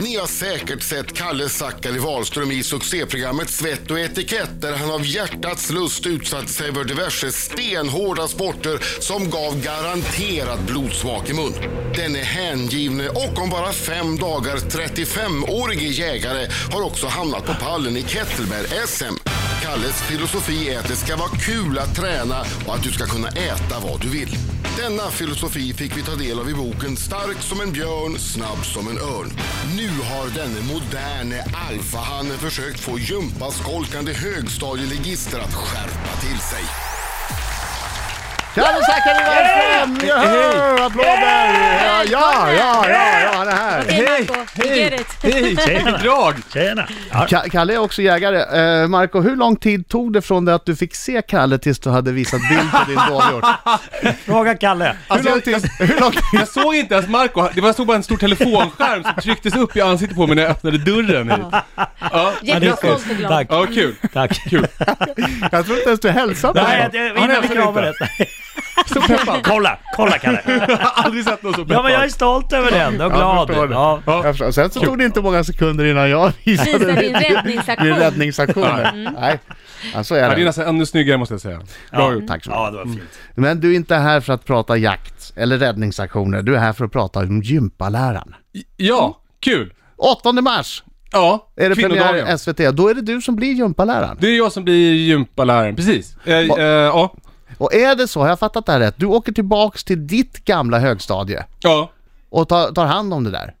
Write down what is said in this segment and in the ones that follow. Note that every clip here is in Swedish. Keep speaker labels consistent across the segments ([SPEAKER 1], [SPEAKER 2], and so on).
[SPEAKER 1] Ni har säkert sett Kalle Zackari Wahlström i succéprogrammet Svett och etikett där han av hjärtats lust utsatte sig för diverse stenhårda sporter som gav garanterat blodsmak i mun. Denne hängivne och om bara fem dagar 35-årige jägare har också hamnat på pallen i kettlebell-SM. Kalles filosofi är att det ska vara kul att träna och att du ska kunna äta vad du vill. Denna filosofi fick vi ta del av i boken Stark som en björn, snabb som en örn. Nu har denne moderne alfahannen försökt få gympaskolkande högstadieligister att skärpa till sig.
[SPEAKER 2] Kalle Zackari Wallström! Jöhö! Applåder! Ja, ja, ja, ja, ja, han är här.
[SPEAKER 3] Hej, Marco, we
[SPEAKER 4] hej,
[SPEAKER 3] get it.
[SPEAKER 4] hej,
[SPEAKER 5] Tjena.
[SPEAKER 4] vilket drag!
[SPEAKER 5] Tjena! Ja.
[SPEAKER 2] Ka- Kalle är också jägare. Eh, Marco, hur lång tid tog det från det att du fick se Kalle tills du hade visat bild på din dovhjort?
[SPEAKER 5] Fråga Kalle.
[SPEAKER 2] Alltså, hur lång tid? Hur lång tid?
[SPEAKER 4] Jag såg inte ens Marco, det var såg bara en stor telefonskärm som trycktes upp i ansiktet på mig när jag öppnade dörren hit. Ja,
[SPEAKER 3] Jättestolt och glad.
[SPEAKER 5] Tack,
[SPEAKER 4] ja kul.
[SPEAKER 5] tack.
[SPEAKER 4] Kul.
[SPEAKER 2] Jag tror inte ens du hälsade på
[SPEAKER 5] Nej,
[SPEAKER 2] honom.
[SPEAKER 5] jag- jag
[SPEAKER 4] Han är
[SPEAKER 5] innan vi
[SPEAKER 4] absolut
[SPEAKER 5] kramade.
[SPEAKER 4] Så peppad.
[SPEAKER 5] Kolla, kolla Kalle.
[SPEAKER 4] Jag har aldrig sett någon så
[SPEAKER 5] Ja,
[SPEAKER 4] peppad.
[SPEAKER 5] men jag är stolt över den och
[SPEAKER 2] Jag
[SPEAKER 5] glad.
[SPEAKER 2] förstår det.
[SPEAKER 5] Ja.
[SPEAKER 2] Jag förstår. Sen så tog det inte många sekunder innan jag visade
[SPEAKER 3] Visa
[SPEAKER 2] min-
[SPEAKER 3] din räddningsaktion.
[SPEAKER 2] min räddningsaktion. Mm. Nej, ja, så
[SPEAKER 4] Ja,
[SPEAKER 2] är
[SPEAKER 4] det är
[SPEAKER 2] det.
[SPEAKER 4] nästan ännu snyggare måste jag säga. Bra gjort.
[SPEAKER 2] Tack så mycket.
[SPEAKER 5] ja, det var fint.
[SPEAKER 2] Men du är inte här för att prata jakt eller räddningsaktioner. Du är här för att prata om gympaläran.
[SPEAKER 4] Ja, kul.
[SPEAKER 2] 8 mars
[SPEAKER 4] Ja,
[SPEAKER 2] är det
[SPEAKER 4] kvinnodagen.
[SPEAKER 2] premiär SVT. Då är det du som blir gympaläraren.
[SPEAKER 4] Det är jag som blir gympaläraren, precis. Eh, eh,
[SPEAKER 2] Va-
[SPEAKER 4] ja,
[SPEAKER 2] Och är det så, har jag fattat det här rätt? Du åker tillbaks till ditt gamla högstadie
[SPEAKER 4] ja.
[SPEAKER 2] och tar, tar hand om det där.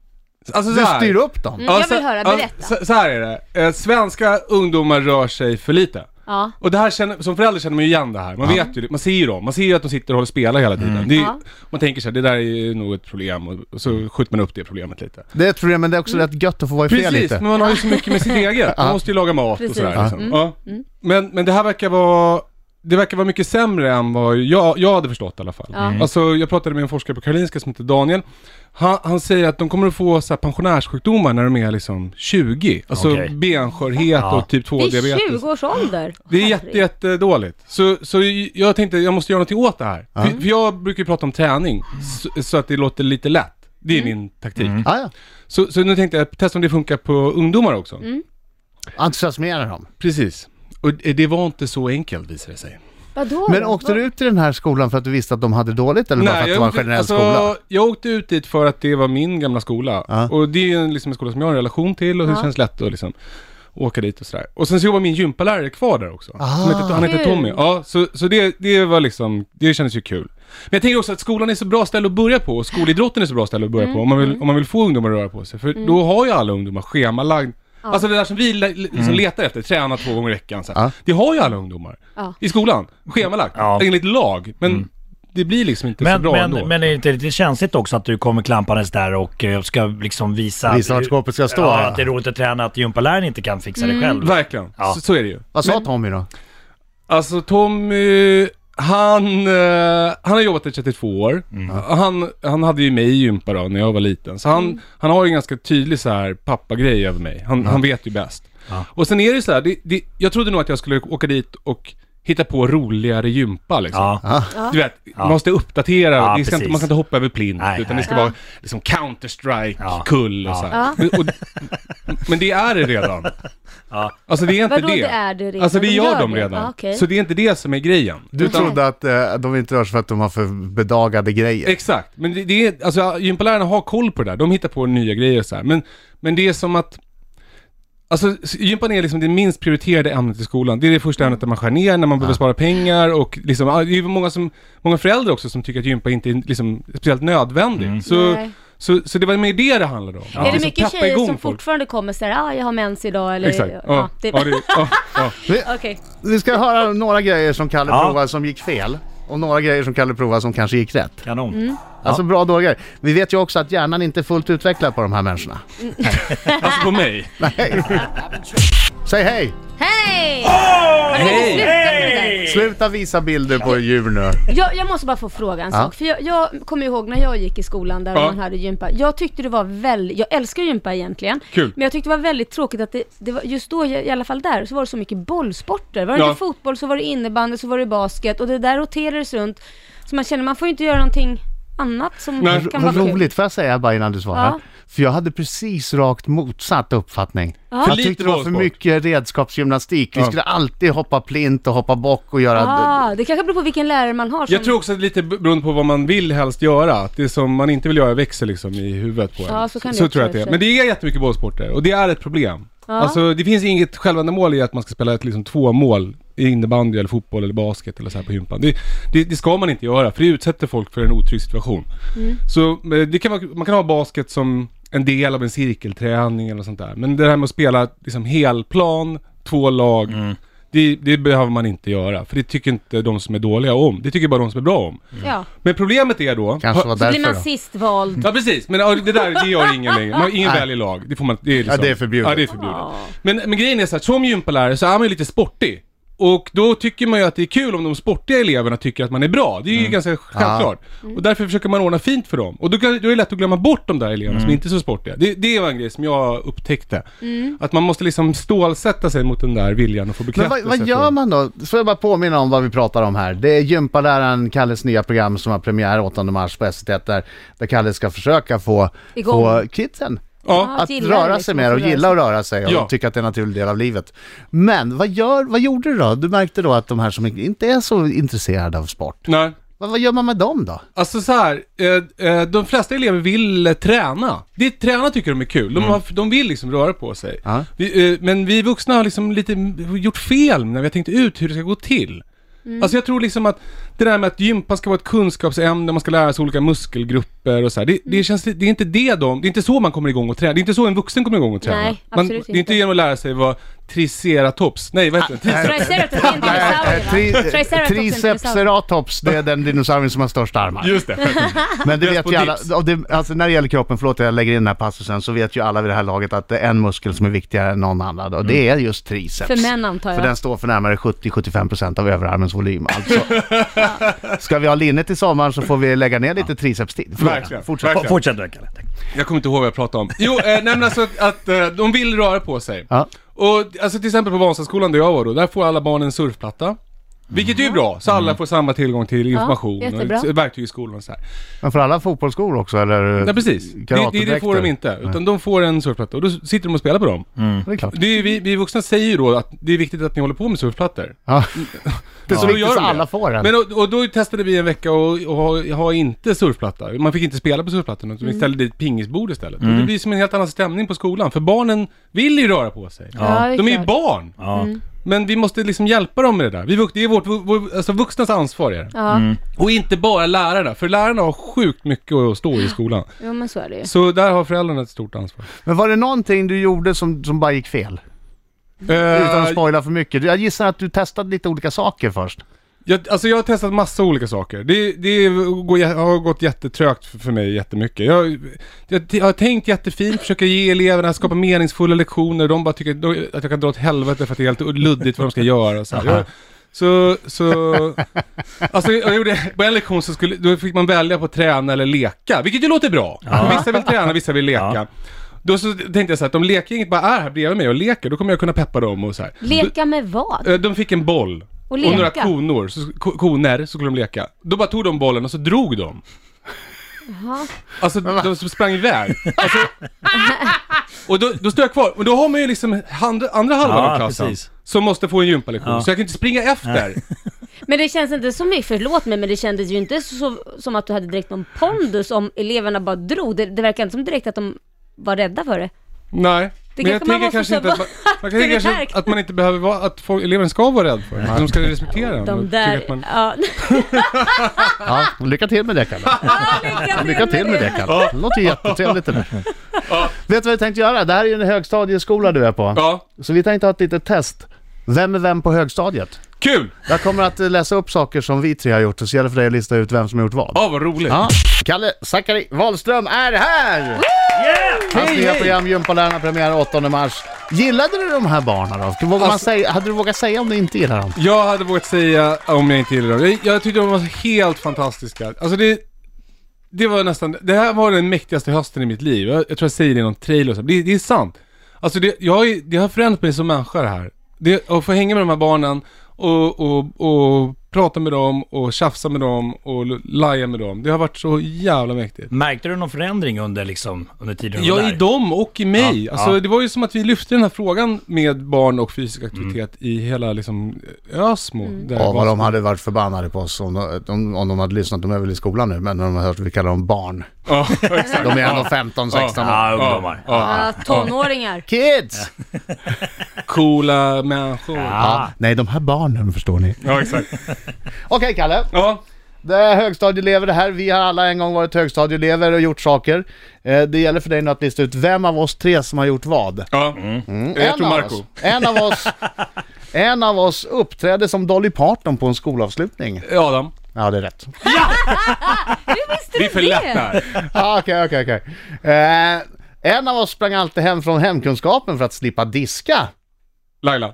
[SPEAKER 4] Alltså
[SPEAKER 2] Du
[SPEAKER 4] så här.
[SPEAKER 2] styr upp dem.
[SPEAKER 3] Mm, jag
[SPEAKER 4] så-
[SPEAKER 3] vill höra,
[SPEAKER 4] ja,
[SPEAKER 3] berätta.
[SPEAKER 4] Så, så här är det. Eh, svenska ungdomar rör sig för lite.
[SPEAKER 3] Ja.
[SPEAKER 4] Och det här känner, som förälder känner man ju igen det här. Man vet ju det, man ser ju dem. Man ser ju att de sitter och håller och spelar hela tiden. Det är, ju-
[SPEAKER 3] Ja.
[SPEAKER 4] Man tänker så här, det där är ju nog ett problem och, och så skjuter man upp det problemet lite.
[SPEAKER 2] Det är ett problem, men det är också rätt gött att få vara i fred
[SPEAKER 4] Mm. Precis,
[SPEAKER 2] lite.
[SPEAKER 4] men man har ju så mycket med sitt eget. Man måste ju laga mat
[SPEAKER 3] Precis.
[SPEAKER 4] och sådär.
[SPEAKER 3] Ja.
[SPEAKER 4] Liksom. Ja. Men, men det här verkar vara... Det verkar vara mycket sämre än vad jag, jag hade förstått i alla fall.
[SPEAKER 3] Ja. Mm.
[SPEAKER 4] Alltså, jag pratade med en forskare på Karolinska som heter Daniel. Han, han säger att de kommer att få så här pensionärssjukdomar när de är liksom 20. Alltså
[SPEAKER 5] Okej.
[SPEAKER 4] benskörhet
[SPEAKER 5] Ja.
[SPEAKER 4] och typ 2
[SPEAKER 3] Vid
[SPEAKER 4] diabetes.
[SPEAKER 3] 20 års ålder.
[SPEAKER 4] Det är jätte, jättedåligt. Så, så jag tänkte, jag måste göra någonting åt det här. För, för jag brukar ju prata om träning, så, så att det låter lite lätt. Det är min taktik.
[SPEAKER 2] Ja, ja.
[SPEAKER 4] Så, så nu tänkte jag testa om det funkar på ungdomar också.
[SPEAKER 2] Entusiasmera dem.
[SPEAKER 4] Precis. Och det det var inte så enkelt visade det sig.
[SPEAKER 3] Vadå?
[SPEAKER 2] Men åkte du ut till den här skolan för att du visste att de hade dåligt eller bara för att det var en generell
[SPEAKER 4] alltså-
[SPEAKER 2] skola?
[SPEAKER 4] jag åkte ut dit för att det var min gamla skola.
[SPEAKER 2] Ja.
[SPEAKER 4] Och det är ju en- liksom en skola som jag har en relation till och det
[SPEAKER 3] Ja.
[SPEAKER 4] känns lätt att liksom åka dit och sådär. Och sen så jobbar min gympalärare kvar där också.
[SPEAKER 2] Ah.
[SPEAKER 4] Som heter, han heter
[SPEAKER 3] Kul.
[SPEAKER 4] Tommy. Ja, så, så det, det var liksom, det kändes ju kul. Men jag tänker också att skolan är så bra ställe att börja på och skolidrotten är så bra ställe att börja på om man,
[SPEAKER 3] Mm.
[SPEAKER 4] vill, om man vill få ungdomar att röra på sig. För då har ju alla ungdomar schemalagd Alltså det där som vi le- liksom letar efter, träna två gånger i veckan. Så här.
[SPEAKER 2] Mm. Ja.
[SPEAKER 4] Det har ju alla ungdomar
[SPEAKER 3] Ja.
[SPEAKER 4] i skolan, schemalagt,
[SPEAKER 5] Ja.
[SPEAKER 4] enligt lag. Men
[SPEAKER 2] Mm.
[SPEAKER 4] det blir liksom inte så
[SPEAKER 5] Men,
[SPEAKER 4] bra
[SPEAKER 5] men,
[SPEAKER 4] ändå.
[SPEAKER 5] men är det inte lite känsligt också att du kommer klampandes där och eh, ska liksom visa...
[SPEAKER 2] Visa vart skåpet ska stå,
[SPEAKER 5] Ja,
[SPEAKER 2] ja.
[SPEAKER 5] att det är roligt att träna, att gympaläraren inte kan fixa det själv.
[SPEAKER 4] Verkligen,
[SPEAKER 5] Ja.
[SPEAKER 4] så, så är det ju.
[SPEAKER 2] Vad sa Tommy då?
[SPEAKER 4] Alltså Tommy, han, eh, han har jobbat i 32 år.
[SPEAKER 5] Mm.
[SPEAKER 4] Han, han hade ju mig i gympa då när jag var liten. Så
[SPEAKER 5] Mm.
[SPEAKER 4] han, han har ju en ganska tydlig så här pappagrej över mig. Han, han vet ju bäst.
[SPEAKER 5] Ja.
[SPEAKER 4] Och sen är det ju så här, det, det, jag trodde nog att jag skulle åka dit och hitta på roligare gympa liksom.
[SPEAKER 5] Ja.
[SPEAKER 4] Du vet, man måste uppdatera,
[SPEAKER 5] Ja,
[SPEAKER 4] det ska inte,
[SPEAKER 5] precis.
[SPEAKER 4] man ska inte hoppa över plint
[SPEAKER 5] Nej,
[SPEAKER 4] utan det
[SPEAKER 5] nej.
[SPEAKER 4] ska
[SPEAKER 3] Ja.
[SPEAKER 4] vara liksom
[SPEAKER 5] Ja.
[SPEAKER 4] Counter-Strike-kull och
[SPEAKER 5] Ja.
[SPEAKER 4] så här. Men, och, men det är det redan.
[SPEAKER 5] Ja.
[SPEAKER 4] Alltså det är inte
[SPEAKER 3] Vadå,
[SPEAKER 4] det.
[SPEAKER 3] det är det redan?
[SPEAKER 4] Alltså det
[SPEAKER 3] De
[SPEAKER 4] gör
[SPEAKER 3] gör
[SPEAKER 4] de
[SPEAKER 3] det.
[SPEAKER 4] redan.
[SPEAKER 3] Ah, okej.
[SPEAKER 4] Så det är inte det som är grejen.
[SPEAKER 2] Du
[SPEAKER 4] utan,
[SPEAKER 2] trodde att eh, de inte rör sig för att de har för bedagade grejer.
[SPEAKER 4] Exakt, men det, det är, alltså gympalärarna har koll på det där. De hittar på nya grejer och så här. Men, men det är som att Alltså gympan är liksom det minst prioriterade ämnet i skolan. Det är det första ämnet där man skär ner när man behöver spara pengar och liksom, ah, det är ju många, som, många föräldrar också som tycker att gympa inte är liksom speciellt nödvändigt. Så,
[SPEAKER 3] Nej.
[SPEAKER 4] så, så det var mer det det handlade om.
[SPEAKER 3] Är
[SPEAKER 4] Att
[SPEAKER 3] det
[SPEAKER 4] liksom
[SPEAKER 3] mycket
[SPEAKER 4] peppa
[SPEAKER 3] tjejer
[SPEAKER 4] igång
[SPEAKER 3] som
[SPEAKER 4] folk.
[SPEAKER 3] fortfarande kommer såhär, ah jag har mens idag eller...
[SPEAKER 4] Exakt, ja.
[SPEAKER 3] det...
[SPEAKER 4] ja, det, ja, ja.
[SPEAKER 3] Okej.
[SPEAKER 2] Vi ska höra några grejer som Kalle
[SPEAKER 5] Ja.
[SPEAKER 2] provade som gick fel och några grejer som Kalle provade som kanske gick rätt.
[SPEAKER 5] Kanon.
[SPEAKER 2] Alltså bra och dåliga grejer. Vi vet ju också att hjärnan inte är fullt utvecklad på de här människorna.
[SPEAKER 4] Alltså på mig.
[SPEAKER 2] Nej. Säg hej!
[SPEAKER 3] Hej! Hörru, sluta med
[SPEAKER 4] Hej!
[SPEAKER 3] det där.
[SPEAKER 2] Sluta visa bilder på djur nu.
[SPEAKER 3] Jag, jag måste bara få fråga en
[SPEAKER 2] Ja.
[SPEAKER 3] sak. För jag, jag kommer ihåg när jag gick i skolan där
[SPEAKER 4] Ja.
[SPEAKER 3] man hade gympa. Jag tyckte det var väldigt, jag älskar gympa egentligen.
[SPEAKER 4] Kul.
[SPEAKER 3] Men jag tyckte det var väldigt tråkigt att det, det var, just då, i alla fall där, så var det så mycket bollsporter. Var det
[SPEAKER 4] Ja.
[SPEAKER 3] inte fotboll så var det innebandy, så var det basket och det där roterades runt. Så man känner, man får ju inte göra någonting annat som
[SPEAKER 4] Nej.
[SPEAKER 2] Vad
[SPEAKER 3] kan vara kul.
[SPEAKER 2] roligt, får jag säga bara innan du svarar?
[SPEAKER 3] Ja.
[SPEAKER 2] För jag hade precis rakt motsatt uppfattning.
[SPEAKER 3] Ja.
[SPEAKER 4] För
[SPEAKER 2] Jag
[SPEAKER 4] lite
[SPEAKER 2] tyckte det var för
[SPEAKER 4] bollsport.
[SPEAKER 2] mycket redskapsgymnastik. Vi
[SPEAKER 4] Ja.
[SPEAKER 2] skulle alltid hoppa plint och hoppa bock och göra...
[SPEAKER 3] Ah, det kanske beror på vilken lärare man har. Som...
[SPEAKER 4] Jag tror också att det är lite beroende på vad man vill helst göra. Att det som man inte vill göra växer liksom i huvudet på en.
[SPEAKER 3] Ja, så kan det
[SPEAKER 4] så
[SPEAKER 3] också
[SPEAKER 4] tror jag att det är.
[SPEAKER 3] vara.
[SPEAKER 4] Men det är jättemycket bollsporter och det är ett problem.
[SPEAKER 3] Ja.
[SPEAKER 4] Alltså det finns inget självändamål i att man ska spela ett, liksom, två mål i innebandy eller fotboll eller basket eller så här på gympan. Det, det, det ska man inte göra för det utsätter folk för en otrygg situation. Så eh, det kan vara, man kan ha basket som en del av en cirkelträning eller sånt där. Men det här med att spela liksom helplan, två lag. Det, det behöver man inte göra, för det tycker inte de som är dåliga om. Det tycker bara de som är bra om.
[SPEAKER 3] Ja.
[SPEAKER 4] Men problemet är då...
[SPEAKER 2] Kanske var
[SPEAKER 3] Så
[SPEAKER 2] därför
[SPEAKER 3] blir man
[SPEAKER 2] då. Mm.
[SPEAKER 3] sist vald.
[SPEAKER 4] Ja precis, men ja, det där det gör ingen längre. Man, ingen
[SPEAKER 2] Nej.
[SPEAKER 4] väljer lag. Det, får man, det, är liksom,
[SPEAKER 2] Ja, det är förbjudet.
[SPEAKER 4] Ja, det är förbjudet.
[SPEAKER 3] Ja.
[SPEAKER 4] Men, men grejen är så här, som gympalärare så är man ju lite sportig. Och då tycker man ju att det är kul om de sportiga eleverna tycker att man är bra. Det är ju
[SPEAKER 2] Mm.
[SPEAKER 4] ganska självklart. Och därför försöker man ordna fint för dem. Och då, kan, då är det lätt att glömma bort de där eleverna
[SPEAKER 2] Mm.
[SPEAKER 4] som inte är så sportiga. Det, det var en grej som jag upptäckte. Att man måste liksom stålsätta sig mot den där viljan och få
[SPEAKER 2] Men
[SPEAKER 4] bekräftelse.
[SPEAKER 2] vad, vad
[SPEAKER 4] från-
[SPEAKER 2] gör man då? Får jag bara påminna om vad vi pratar om här. Det är gympaläraren Kalles nya program som har premiär 8 mars på SVT där, där Kalle ska försöka få,
[SPEAKER 3] Igång.
[SPEAKER 2] få kidsen
[SPEAKER 4] Ja.
[SPEAKER 2] att
[SPEAKER 3] gilla
[SPEAKER 2] röra
[SPEAKER 3] liksom,
[SPEAKER 2] sig mer och
[SPEAKER 3] att röra
[SPEAKER 2] gilla att röra sig och
[SPEAKER 4] Ja.
[SPEAKER 2] tycka att det är en naturlig del av livet. Men vad, gör, vad gjorde du då? Du märkte då att de här som inte är så intresserade av sport,
[SPEAKER 4] Nej.
[SPEAKER 2] vad, vad gör man med dem då?
[SPEAKER 4] Alltså så här, eh, eh, de flesta elever vill eh, träna. Det, träna tycker de är kul. De, har, de vill liksom röra på sig.
[SPEAKER 2] Ja.
[SPEAKER 4] Vi, eh, men vi vuxna har liksom lite m- gjort fel när vi har tänkt ut hur det ska gå till.
[SPEAKER 3] Mm.
[SPEAKER 4] Alltså jag tror liksom att det där med att gympa ska vara ett kunskapsämne, man ska lära sig olika muskelgrupper och så här. Det, det,
[SPEAKER 3] Mm.
[SPEAKER 4] känns, li- det är inte det de, det är inte så man kommer igång och träna. Det är inte så en vuxen kommer igång och träna.
[SPEAKER 3] Nej,
[SPEAKER 4] man,
[SPEAKER 3] absolut
[SPEAKER 4] Det är inte
[SPEAKER 3] inte. Ah,
[SPEAKER 4] genom att lära sig vad triceratops, nej vad heter det?
[SPEAKER 3] Triceratops, det är en
[SPEAKER 2] Äh,
[SPEAKER 3] dinosaurie va? Triceratops är en dinosaurie.
[SPEAKER 2] Tricepseratops, det är den dinosaurien som har största armar.
[SPEAKER 4] Just det.
[SPEAKER 2] Men det
[SPEAKER 4] Bäst
[SPEAKER 2] vet
[SPEAKER 4] på
[SPEAKER 2] ju alla,
[SPEAKER 4] tips.
[SPEAKER 2] och det, alltså när det gäller kroppen, förlåt att jag lägger in den här passusen, så vet ju alla vid det här laget att det är en muskel som är viktigare än någon annan och
[SPEAKER 4] Mm.
[SPEAKER 2] det är just triceps.
[SPEAKER 3] För män antar
[SPEAKER 2] För den
[SPEAKER 3] jag.
[SPEAKER 2] står för närmare 70-75% av överarmens volym. Alltså, ska vi ha linnet i sommar så får vi lägga ner lite tricepstid. Förlåt,
[SPEAKER 4] Verkligen,
[SPEAKER 2] Fortsätt.
[SPEAKER 4] verkligen.
[SPEAKER 5] Fortsätt du Kalle.
[SPEAKER 4] Jag kommer inte ihåg vad jag pratade om. Jo, eh, nej men alltså att, att eh, de vill röra på sig.
[SPEAKER 2] Ja.
[SPEAKER 4] Och alltså till exempel på Vanstaskolan där jag var då, där får alla barn en surfplatta. Vilket ju är bra, så alla får samma tillgång till information
[SPEAKER 3] jättebra.
[SPEAKER 4] och ett verktyg i skolan och så här.
[SPEAKER 2] Men får alla fotbollsskor också eller?
[SPEAKER 4] Nej precis, det, det, det får de inte. Utan de får en surfplatta och då sitter de och spelar på dem.
[SPEAKER 2] Det är klart.
[SPEAKER 4] Det är, ju- vi, vi vuxna säger ju då att det är viktigt att ni håller på med surfplattor.
[SPEAKER 2] Ja. Det är så
[SPEAKER 4] då
[SPEAKER 2] viktigt
[SPEAKER 4] gör
[SPEAKER 2] så
[SPEAKER 4] de det.
[SPEAKER 2] alla får en.
[SPEAKER 4] Men och, och då testade vi en vecka och, och ha, ha inte surfplatta. Man fick inte spela på surfplattan utan
[SPEAKER 2] Mm.
[SPEAKER 4] vi ställde dit pingisbord istället. Och det blir som en helt annan stämning på skolan. För barnen vill ju röra på sig.
[SPEAKER 3] Ja, det är
[SPEAKER 4] De är ju
[SPEAKER 3] klart.
[SPEAKER 4] barn.
[SPEAKER 5] Ja.
[SPEAKER 4] Men vi måste liksom hjälpa dem med det där. Vi, vux- det är vårt, vår, alltså vuxnas ansvar är det.
[SPEAKER 3] Ja,
[SPEAKER 4] Och inte bara lärarna, för lärarna har sjukt mycket att stå i skolan.
[SPEAKER 3] jo men så är det ju.
[SPEAKER 4] Så där har föräldrarna ett stort ansvar.
[SPEAKER 2] Men var det någonting du gjorde som, som bara gick fel? Utan att
[SPEAKER 4] Eh,
[SPEAKER 2] spoila för mycket. Jag gissar att du testade lite olika saker först.
[SPEAKER 4] Jag, alltså jag har testat massa olika saker. Det, det går, jä- har gått jättetrögt för, för mig jättemycket. Jag, jag, jag har tänkt jättefint, försöker ge eleverna, skapa meningsfulla lektioner. De bara tycker att- att jag kan dra åt helvete för att det är helt luddigt vad de ska göra och så här. Jag, så, så, alltså jag gjorde, på en lektion så skulle, då fick man välja på att träna eller leka, vilket ju låter bra. Vissa vill träna, vissa vill leka.
[SPEAKER 5] Ja.
[SPEAKER 4] Då så tänkte jag så här, att om lekgänget bara är här bredvid mig och leker, då kommer jag kunna peppa dem och så här.
[SPEAKER 3] Leka med vad?
[SPEAKER 4] Eh, De fick en boll.
[SPEAKER 3] Och leka.
[SPEAKER 4] några konor, så, ko- koner, så skulle de leka. Då bara tog de bollen och så drog de.
[SPEAKER 3] Jaha.
[SPEAKER 4] Alltså de sprang iväg. Alltså, och då, då står jag kvar. Men då har man ju liksom hand, andra halvan
[SPEAKER 5] Ja,
[SPEAKER 4] av klassen.
[SPEAKER 5] precis.
[SPEAKER 4] Som måste få en gympalektion.
[SPEAKER 5] Ja.
[SPEAKER 4] Så jag kan inte springa efter.
[SPEAKER 3] Men det känns inte så mycket, förlåt mig, men det kändes ju inte så, som att du hade direkt någon pondus om eleverna bara drog. Det, det verkar inte som direkt att de var rädda för det.
[SPEAKER 4] Nej.
[SPEAKER 3] Det
[SPEAKER 4] men jag
[SPEAKER 3] kanske man
[SPEAKER 4] tänker
[SPEAKER 3] måste
[SPEAKER 4] kanske inte
[SPEAKER 3] säga,
[SPEAKER 4] att man,
[SPEAKER 3] "Va?
[SPEAKER 4] man tänker
[SPEAKER 3] Det
[SPEAKER 4] kanske
[SPEAKER 3] där-
[SPEAKER 4] att man inte behöver vara, att folk, eleven ska vara rädd för det. De ska respektera den.
[SPEAKER 3] De
[SPEAKER 4] och tycka
[SPEAKER 3] där,
[SPEAKER 4] att man-
[SPEAKER 3] ja.
[SPEAKER 2] Ja, lycka till med det Kalle. Lycka till med det Kalle. Det låter ju jättetrevligt det där. Vet du vad jag tänkte göra? Det här är ju en högstadieskola du är på.
[SPEAKER 4] Ja,
[SPEAKER 2] Så vi tänkte ha ett litet test. Vem är vem på högstadiet?
[SPEAKER 4] kul!
[SPEAKER 2] Jag kommer att eh, läsa upp saker som vi tre har gjort och så gäller det för dig att lista ut vem som har gjort vad.
[SPEAKER 4] Ja, vad roligt.
[SPEAKER 2] Ja. Kalle Zackari Wahlström är här! Hans
[SPEAKER 4] Hej,
[SPEAKER 2] nya
[SPEAKER 4] hej!
[SPEAKER 2] program Gympalärarna premiär 8 mars. Gillade du de här barnen då? Vågar man
[SPEAKER 4] Alltså-
[SPEAKER 2] säga, hade du vågat säga om du inte gillar dem?
[SPEAKER 4] Jag hade vågat säga om jag inte gillade dem. Jag, jag tyckte de var helt fantastiska. Alltså det... Det var nästan... Det här var den mäktigaste hösten i mitt liv. Jag, jag tror jag säger det i någon trailer och så. Det, det är sant. Alltså det, jag, är- det har förändrat mig som människa det här. Det, att få hänga med de här barnen och, och, och prata med dem och tjafsa med dem och l- laja med dem. Det har varit så jävla mäktigt.
[SPEAKER 5] Märkte du någon förändring under, liksom, under tiden du var
[SPEAKER 4] Ja, i
[SPEAKER 5] där?
[SPEAKER 4] dem och i mig.
[SPEAKER 5] Ja,
[SPEAKER 4] alltså,
[SPEAKER 5] ja.
[SPEAKER 4] Det var ju som att vi lyfte den här frågan med barn och fysisk aktivitet
[SPEAKER 5] Mm.
[SPEAKER 4] i hela liksom, Ösmo. där
[SPEAKER 2] Ja, vad
[SPEAKER 4] Vasmo-
[SPEAKER 2] de hade varit förbannade på oss om de, om, om de hade lyssnat. De är väl i skolan nu, men de har hört att vi kallar dem barn.
[SPEAKER 4] Ja, exakt.
[SPEAKER 2] De är ändå 15, 16 år.
[SPEAKER 5] Ja, ungdomar.
[SPEAKER 4] Ja.
[SPEAKER 3] Ja, tonåringar.
[SPEAKER 2] Kids!
[SPEAKER 4] Coola människor. Ja,
[SPEAKER 2] Ja, nej, de här barnen förstår ni.
[SPEAKER 4] exakt.
[SPEAKER 2] Okej, Kalle.
[SPEAKER 4] Ja.
[SPEAKER 2] Det är högstadieelever det här. Vi har alla en gång varit högstadieelever och gjort saker. Eh, Det gäller för dig nu att lista ut vem av oss tre som har gjort vad.
[SPEAKER 4] ja.
[SPEAKER 5] Mm.
[SPEAKER 4] Mm, Jag
[SPEAKER 2] En
[SPEAKER 4] tror
[SPEAKER 2] av
[SPEAKER 4] Marco.
[SPEAKER 2] oss- En av oss... En av oss uppträdde som Dolly Parton på en skolavslutning.
[SPEAKER 4] Eh, Adam.
[SPEAKER 2] Ja, det är rätt.
[SPEAKER 4] Vi är för lätt där.
[SPEAKER 2] Ah, Okej, okej, okej. Eh, En av oss sprang alltid hem från hemkunskapen för att slippa diska.
[SPEAKER 4] Laila.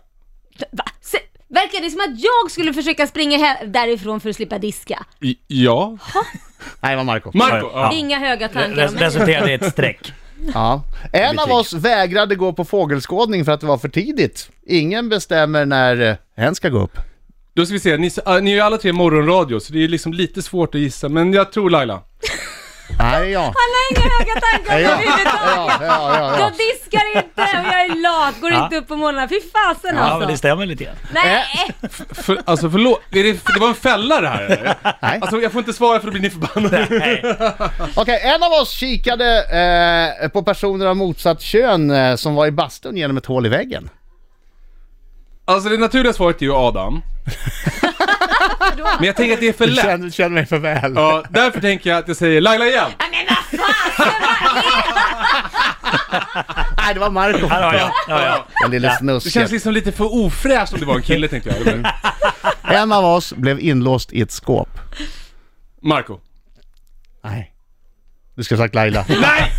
[SPEAKER 3] Va? Se, verkar det som att jag skulle försöka springa he- därifrån för att slippa diska?
[SPEAKER 4] I, ja.
[SPEAKER 2] Nej, det var Marco.
[SPEAKER 4] Marco. Ja.
[SPEAKER 5] Ja.
[SPEAKER 3] Inga höga
[SPEAKER 5] Re-
[SPEAKER 3] tankar om
[SPEAKER 5] res- resulterade i ett streck.
[SPEAKER 2] Ja. En av
[SPEAKER 5] Betyg.
[SPEAKER 2] oss vägrade gå på fågelskådning för att det var för tidigt. Ingen bestämmer när eh, hen ska gå upp.
[SPEAKER 4] Då ska vi se. Ni, s- ah, ni är ju alla tre morgonradio, så det är liksom lite svårt att gissa. Men jag tror Laila.
[SPEAKER 2] Nej, det är jag.
[SPEAKER 3] Han har inga höga
[SPEAKER 2] Ja,
[SPEAKER 3] tankar överhuvudtaget.
[SPEAKER 2] ja, ja, ja, ja.
[SPEAKER 3] Jag diskar inte och jag är lat, går
[SPEAKER 5] Ja.
[SPEAKER 3] inte upp på morgnarna. Fy fasen
[SPEAKER 5] Ja, men det
[SPEAKER 3] alltså.
[SPEAKER 5] stämmer lite grann.
[SPEAKER 3] Nej!
[SPEAKER 4] För, alltså förlåt. Är det, det var en fälla det här eller?
[SPEAKER 2] Nej.
[SPEAKER 4] Alltså jag får inte svara för då blir ni förbannade.
[SPEAKER 5] Nej.
[SPEAKER 2] Okej, en av oss kikade eh, på personer av motsatt kön eh, som var i bastun genom ett hål i väggen.
[SPEAKER 4] Alltså det naturliga svaret är ju Adam. Men jag tänker att det är för lätt.
[SPEAKER 2] känner mig för väl.
[SPEAKER 4] Ja, därför tänker jag att jag säger Laila igen.
[SPEAKER 3] Ja, äh, Men vad fasen!
[SPEAKER 2] Nej, det var Marco.
[SPEAKER 5] Här har jag. Här har jag.
[SPEAKER 2] Den lille
[SPEAKER 4] Det känns
[SPEAKER 2] snusken.
[SPEAKER 4] liksom lite för ofräscht om det var en kille tänkte jag. Eller?
[SPEAKER 2] En av oss blev inlåst i ett skåp.
[SPEAKER 4] Marco.
[SPEAKER 2] Nej. Du ska ha sagt Laila.
[SPEAKER 4] Nej!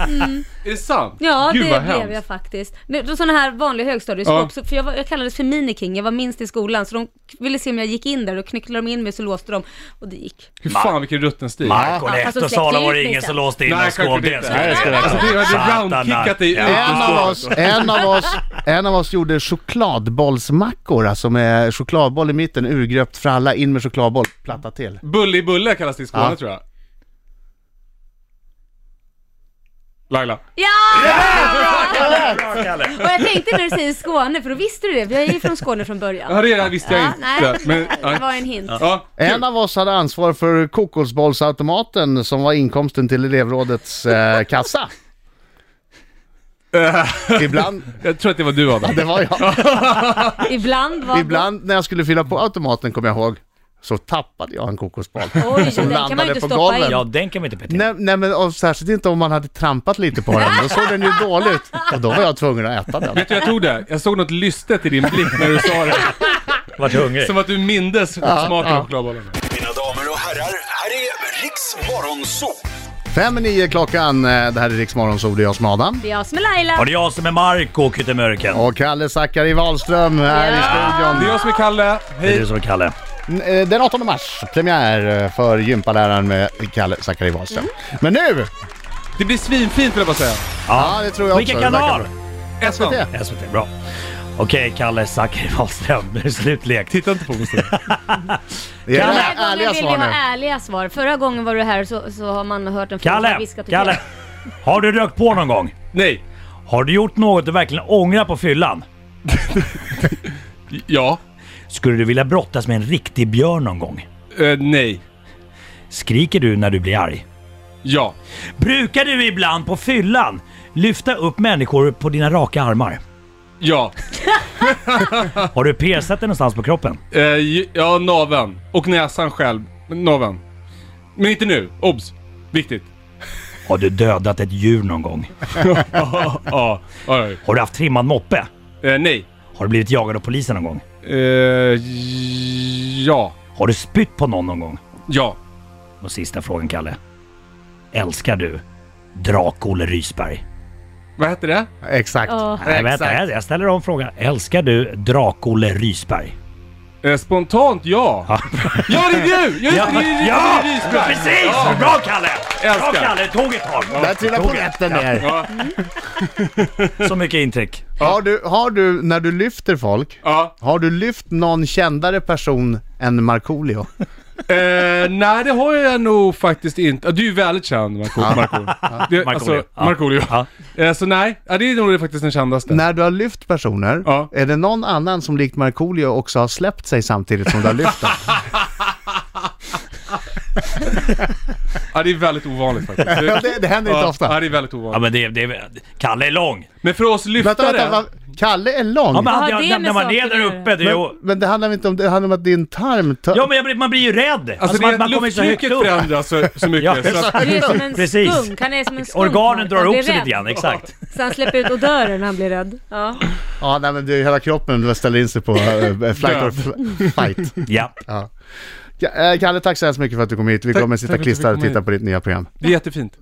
[SPEAKER 4] Är det sant?
[SPEAKER 3] Ja,
[SPEAKER 4] Gud,
[SPEAKER 3] det
[SPEAKER 4] vad
[SPEAKER 3] blev
[SPEAKER 4] hemskt.
[SPEAKER 3] jag faktiskt. Men då sådana här vanliga högstadieskåp,
[SPEAKER 4] Ja.
[SPEAKER 3] så- för jag, var, jag kallades för miniking, jag var minst i skolan, så de ville se om jag gick in där, och knycklade de in mig så låste de, och det gick.
[SPEAKER 4] Hur fan vilken rutten stil.
[SPEAKER 5] Marko
[SPEAKER 3] Ja,
[SPEAKER 5] Lehto
[SPEAKER 3] alltså,
[SPEAKER 5] sa det
[SPEAKER 3] släpp
[SPEAKER 5] var
[SPEAKER 3] ut
[SPEAKER 5] det ingen
[SPEAKER 3] lite.
[SPEAKER 5] som låste in någon
[SPEAKER 4] Nej,
[SPEAKER 5] skåp.
[SPEAKER 4] självklart
[SPEAKER 5] Det
[SPEAKER 4] inte.
[SPEAKER 5] ska jag
[SPEAKER 2] Nej,
[SPEAKER 5] säga.
[SPEAKER 2] det ska
[SPEAKER 4] Alltså det hade
[SPEAKER 5] Satanar.
[SPEAKER 4] roundkickat dig ut ur
[SPEAKER 2] En av, oss,
[SPEAKER 4] skåpet.
[SPEAKER 2] en, av oss, en av oss gjorde chokladbollsmackor, alltså med chokladboll i mitten, urgröpt för alla, in med chokladboll, platta till.
[SPEAKER 4] Bulle i bulle kallas det i Skåne
[SPEAKER 2] Ja.
[SPEAKER 4] tror jag. Laila.
[SPEAKER 3] Ja!
[SPEAKER 5] Bra, Kalle.
[SPEAKER 3] Och jag tänkte när du säger Skåne, för då visste du det, för jag är ju från Skåne från
[SPEAKER 4] Ja,
[SPEAKER 3] början.
[SPEAKER 4] det visste jag
[SPEAKER 3] Ja, nej,
[SPEAKER 4] inte. Men,
[SPEAKER 3] det
[SPEAKER 4] ja.
[SPEAKER 3] var en hint.
[SPEAKER 4] Ja,
[SPEAKER 2] En av oss hade ansvar för kokosbollsautomaten som var inkomsten till elevrådets eh, kassa. Ibland,
[SPEAKER 4] jag tror att det var du Adam.
[SPEAKER 2] det var jag.
[SPEAKER 3] Ibland var...
[SPEAKER 2] Ibland när jag skulle fylla på automaten, kommer jag ihåg, så tappade jag en kokosboll.
[SPEAKER 3] Oj, den kan man
[SPEAKER 2] landade
[SPEAKER 3] ju inte
[SPEAKER 2] på
[SPEAKER 3] stoppa
[SPEAKER 2] golvet.
[SPEAKER 3] in.
[SPEAKER 5] Ja, den kan vi inte petera.
[SPEAKER 2] Nej, nej men och särskilt inte om man hade trampat lite på den, då såg den ju dålig ut. Och då var jag tvungen att äta den.
[SPEAKER 4] Vet du jag tog det? Jag såg något lystet i din blick när du sa det.
[SPEAKER 5] Vart hungrig.
[SPEAKER 4] Som att du mindes smaken av
[SPEAKER 2] ja.
[SPEAKER 4] chokladbollen.
[SPEAKER 6] Mina damer och herrar, här är Riks Morgonzoo!
[SPEAKER 2] Fem i nio klockan, eh, det här är Rix Morgonzoo, det är jag som är Adam.
[SPEAKER 3] Det är jag som är Laila.
[SPEAKER 5] Var det jag som är Marko och Kyttemörken?
[SPEAKER 2] Och Kalle Zackari Wahlström här i
[SPEAKER 4] Det är
[SPEAKER 2] studion.
[SPEAKER 4] jag som är Kalle.
[SPEAKER 5] Det är
[SPEAKER 4] Hej.
[SPEAKER 5] du som är Kalle.
[SPEAKER 2] N- eh, Den 18 mars, premiär eh, för Gympaläraren med Kalle Zackari Wahlström.
[SPEAKER 5] Mm.
[SPEAKER 2] Men nu!
[SPEAKER 4] Det blir svinfint vill jag bara säga.
[SPEAKER 2] Ja, det tror jag också.
[SPEAKER 5] Vilken
[SPEAKER 2] Det verkar
[SPEAKER 5] kanal?
[SPEAKER 4] Ettan.
[SPEAKER 2] bra.
[SPEAKER 5] SVT, bra. Okej, Kalle Zackari Wahlström. Nu är det slutlek.
[SPEAKER 4] Titta inte på mig så.
[SPEAKER 2] Det är
[SPEAKER 5] Kalle!
[SPEAKER 2] det
[SPEAKER 3] Den här
[SPEAKER 2] ärliga
[SPEAKER 3] gången vill jag
[SPEAKER 2] svar
[SPEAKER 3] ha
[SPEAKER 2] nu.
[SPEAKER 3] ärliga svar. Förra gången var du här så, så har man hört en fråga som har
[SPEAKER 5] Kalle!
[SPEAKER 3] viskat och
[SPEAKER 5] Kalle!
[SPEAKER 3] kallat.
[SPEAKER 5] Har du rökt på någon gång?
[SPEAKER 4] Nej.
[SPEAKER 5] Har du gjort något du verkligen ångrar på fyllan?
[SPEAKER 4] Ja.
[SPEAKER 5] Skulle du vilja brottas med en riktig björn någon gång?
[SPEAKER 4] Eh, nej.
[SPEAKER 5] Skriker du när du blir arg?
[SPEAKER 4] Ja.
[SPEAKER 5] Brukar du ibland på fyllan lyfta upp människor på dina raka armar?
[SPEAKER 4] Ja.
[SPEAKER 5] Har du piercat dig någonstans på kroppen?
[SPEAKER 4] Eh, ju- ja, naveln. Och näsan själv. Men Naveln. Men inte nu. Obs. Viktigt.
[SPEAKER 5] Har du dödat ett djur någon gång?
[SPEAKER 4] Ja. ja, ja.
[SPEAKER 5] Har du haft trimmad moppe?
[SPEAKER 4] Eh, nej.
[SPEAKER 5] Har du blivit jagad av polisen någon gång?
[SPEAKER 4] Eh, ja.
[SPEAKER 5] Har du spytt på någon någon gång?
[SPEAKER 4] Ja.
[SPEAKER 5] Och sista frågan Kalle. Älskar du Drak-Olle Rysberg?
[SPEAKER 4] Vad hette det?
[SPEAKER 2] Exakt.
[SPEAKER 3] Ja.
[SPEAKER 5] Nej, vänta, jag jag ställer om frågan. Älskar du Drak-Olle Rysberg?
[SPEAKER 4] Eh, Spontant ja. Ja, det är du! Just det, det är
[SPEAKER 5] Ja!
[SPEAKER 4] Rickard Rysberg.
[SPEAKER 5] Precis!
[SPEAKER 4] Ja.
[SPEAKER 5] Bra Kalle! Bra
[SPEAKER 4] Älskar.
[SPEAKER 5] Kalle, tog ett tag.
[SPEAKER 2] Där trillade
[SPEAKER 5] Tog ett.
[SPEAKER 2] polletten ner.
[SPEAKER 4] Ja.
[SPEAKER 5] Så mycket intryck.
[SPEAKER 2] Har du, har du, när du lyfter folk,
[SPEAKER 4] Ja.
[SPEAKER 2] har du lyft någon kändare person än Markoolio?
[SPEAKER 4] Eh, nej, det har jag nog faktiskt inte. Du är ju väldigt känd, Marco. Marco. Det- Alltså,
[SPEAKER 5] Markoolio. Ja.
[SPEAKER 4] Markoolio.
[SPEAKER 5] Ja.
[SPEAKER 4] Eh, så nej, ja, det är nog faktiskt den kändaste.
[SPEAKER 2] När du har lyft personer,
[SPEAKER 4] Ja.
[SPEAKER 2] är det någon annan som likt Markoolio också har släppt sig samtidigt som du har lyft dem?
[SPEAKER 4] Ja, det är väldigt ovanligt faktiskt.
[SPEAKER 2] Ja, det, det händer inte
[SPEAKER 4] ja,
[SPEAKER 2] ofta.
[SPEAKER 4] Ja, det är väldigt
[SPEAKER 5] Ja,
[SPEAKER 4] ovanligt.
[SPEAKER 5] men det, det, Kalle är lång.
[SPEAKER 4] Men för oss
[SPEAKER 2] Vänta,
[SPEAKER 4] lyftare... alltså
[SPEAKER 2] vänta, va? Kalle är lång.
[SPEAKER 5] Ja, men
[SPEAKER 3] Vad har
[SPEAKER 5] han,
[SPEAKER 3] det
[SPEAKER 5] när,
[SPEAKER 3] med
[SPEAKER 5] när man är
[SPEAKER 3] saker
[SPEAKER 5] där
[SPEAKER 3] att göra?
[SPEAKER 5] uppe, det är ju...
[SPEAKER 2] men, men det handlar inte om det, det handlar om att din tarm... Ta...
[SPEAKER 5] Ja, men jag blir, man blir ju rädd. Alltså,
[SPEAKER 4] Alltså, det
[SPEAKER 5] man,
[SPEAKER 4] är
[SPEAKER 5] man kommer ju så högt
[SPEAKER 4] lufttrycket
[SPEAKER 5] upp.
[SPEAKER 4] förändras så, så
[SPEAKER 5] Ja,
[SPEAKER 4] mycket. så att,
[SPEAKER 3] Du är som en
[SPEAKER 5] Precis.
[SPEAKER 3] skunk. Han är som en skunk.
[SPEAKER 5] Organen
[SPEAKER 3] Mark.
[SPEAKER 5] drar
[SPEAKER 3] Han blir
[SPEAKER 5] ihop sig
[SPEAKER 3] rädd.
[SPEAKER 5] lite grann, exakt.
[SPEAKER 3] Så han släpper ut odörer när han blir rädd. Ja.
[SPEAKER 2] Ja, nej, men det är hela kroppen ställer in sig på äh, flight or fight.
[SPEAKER 5] Ja.
[SPEAKER 2] Ja, eh, Kalle, tack så hemskt mycket för att du kom hit. Vi
[SPEAKER 4] Tack-
[SPEAKER 2] kommer sitta
[SPEAKER 4] tack för att du fick
[SPEAKER 2] klistrade och
[SPEAKER 4] komma
[SPEAKER 2] titta
[SPEAKER 4] hit.
[SPEAKER 2] på ditt nya program.
[SPEAKER 4] det är jättefint.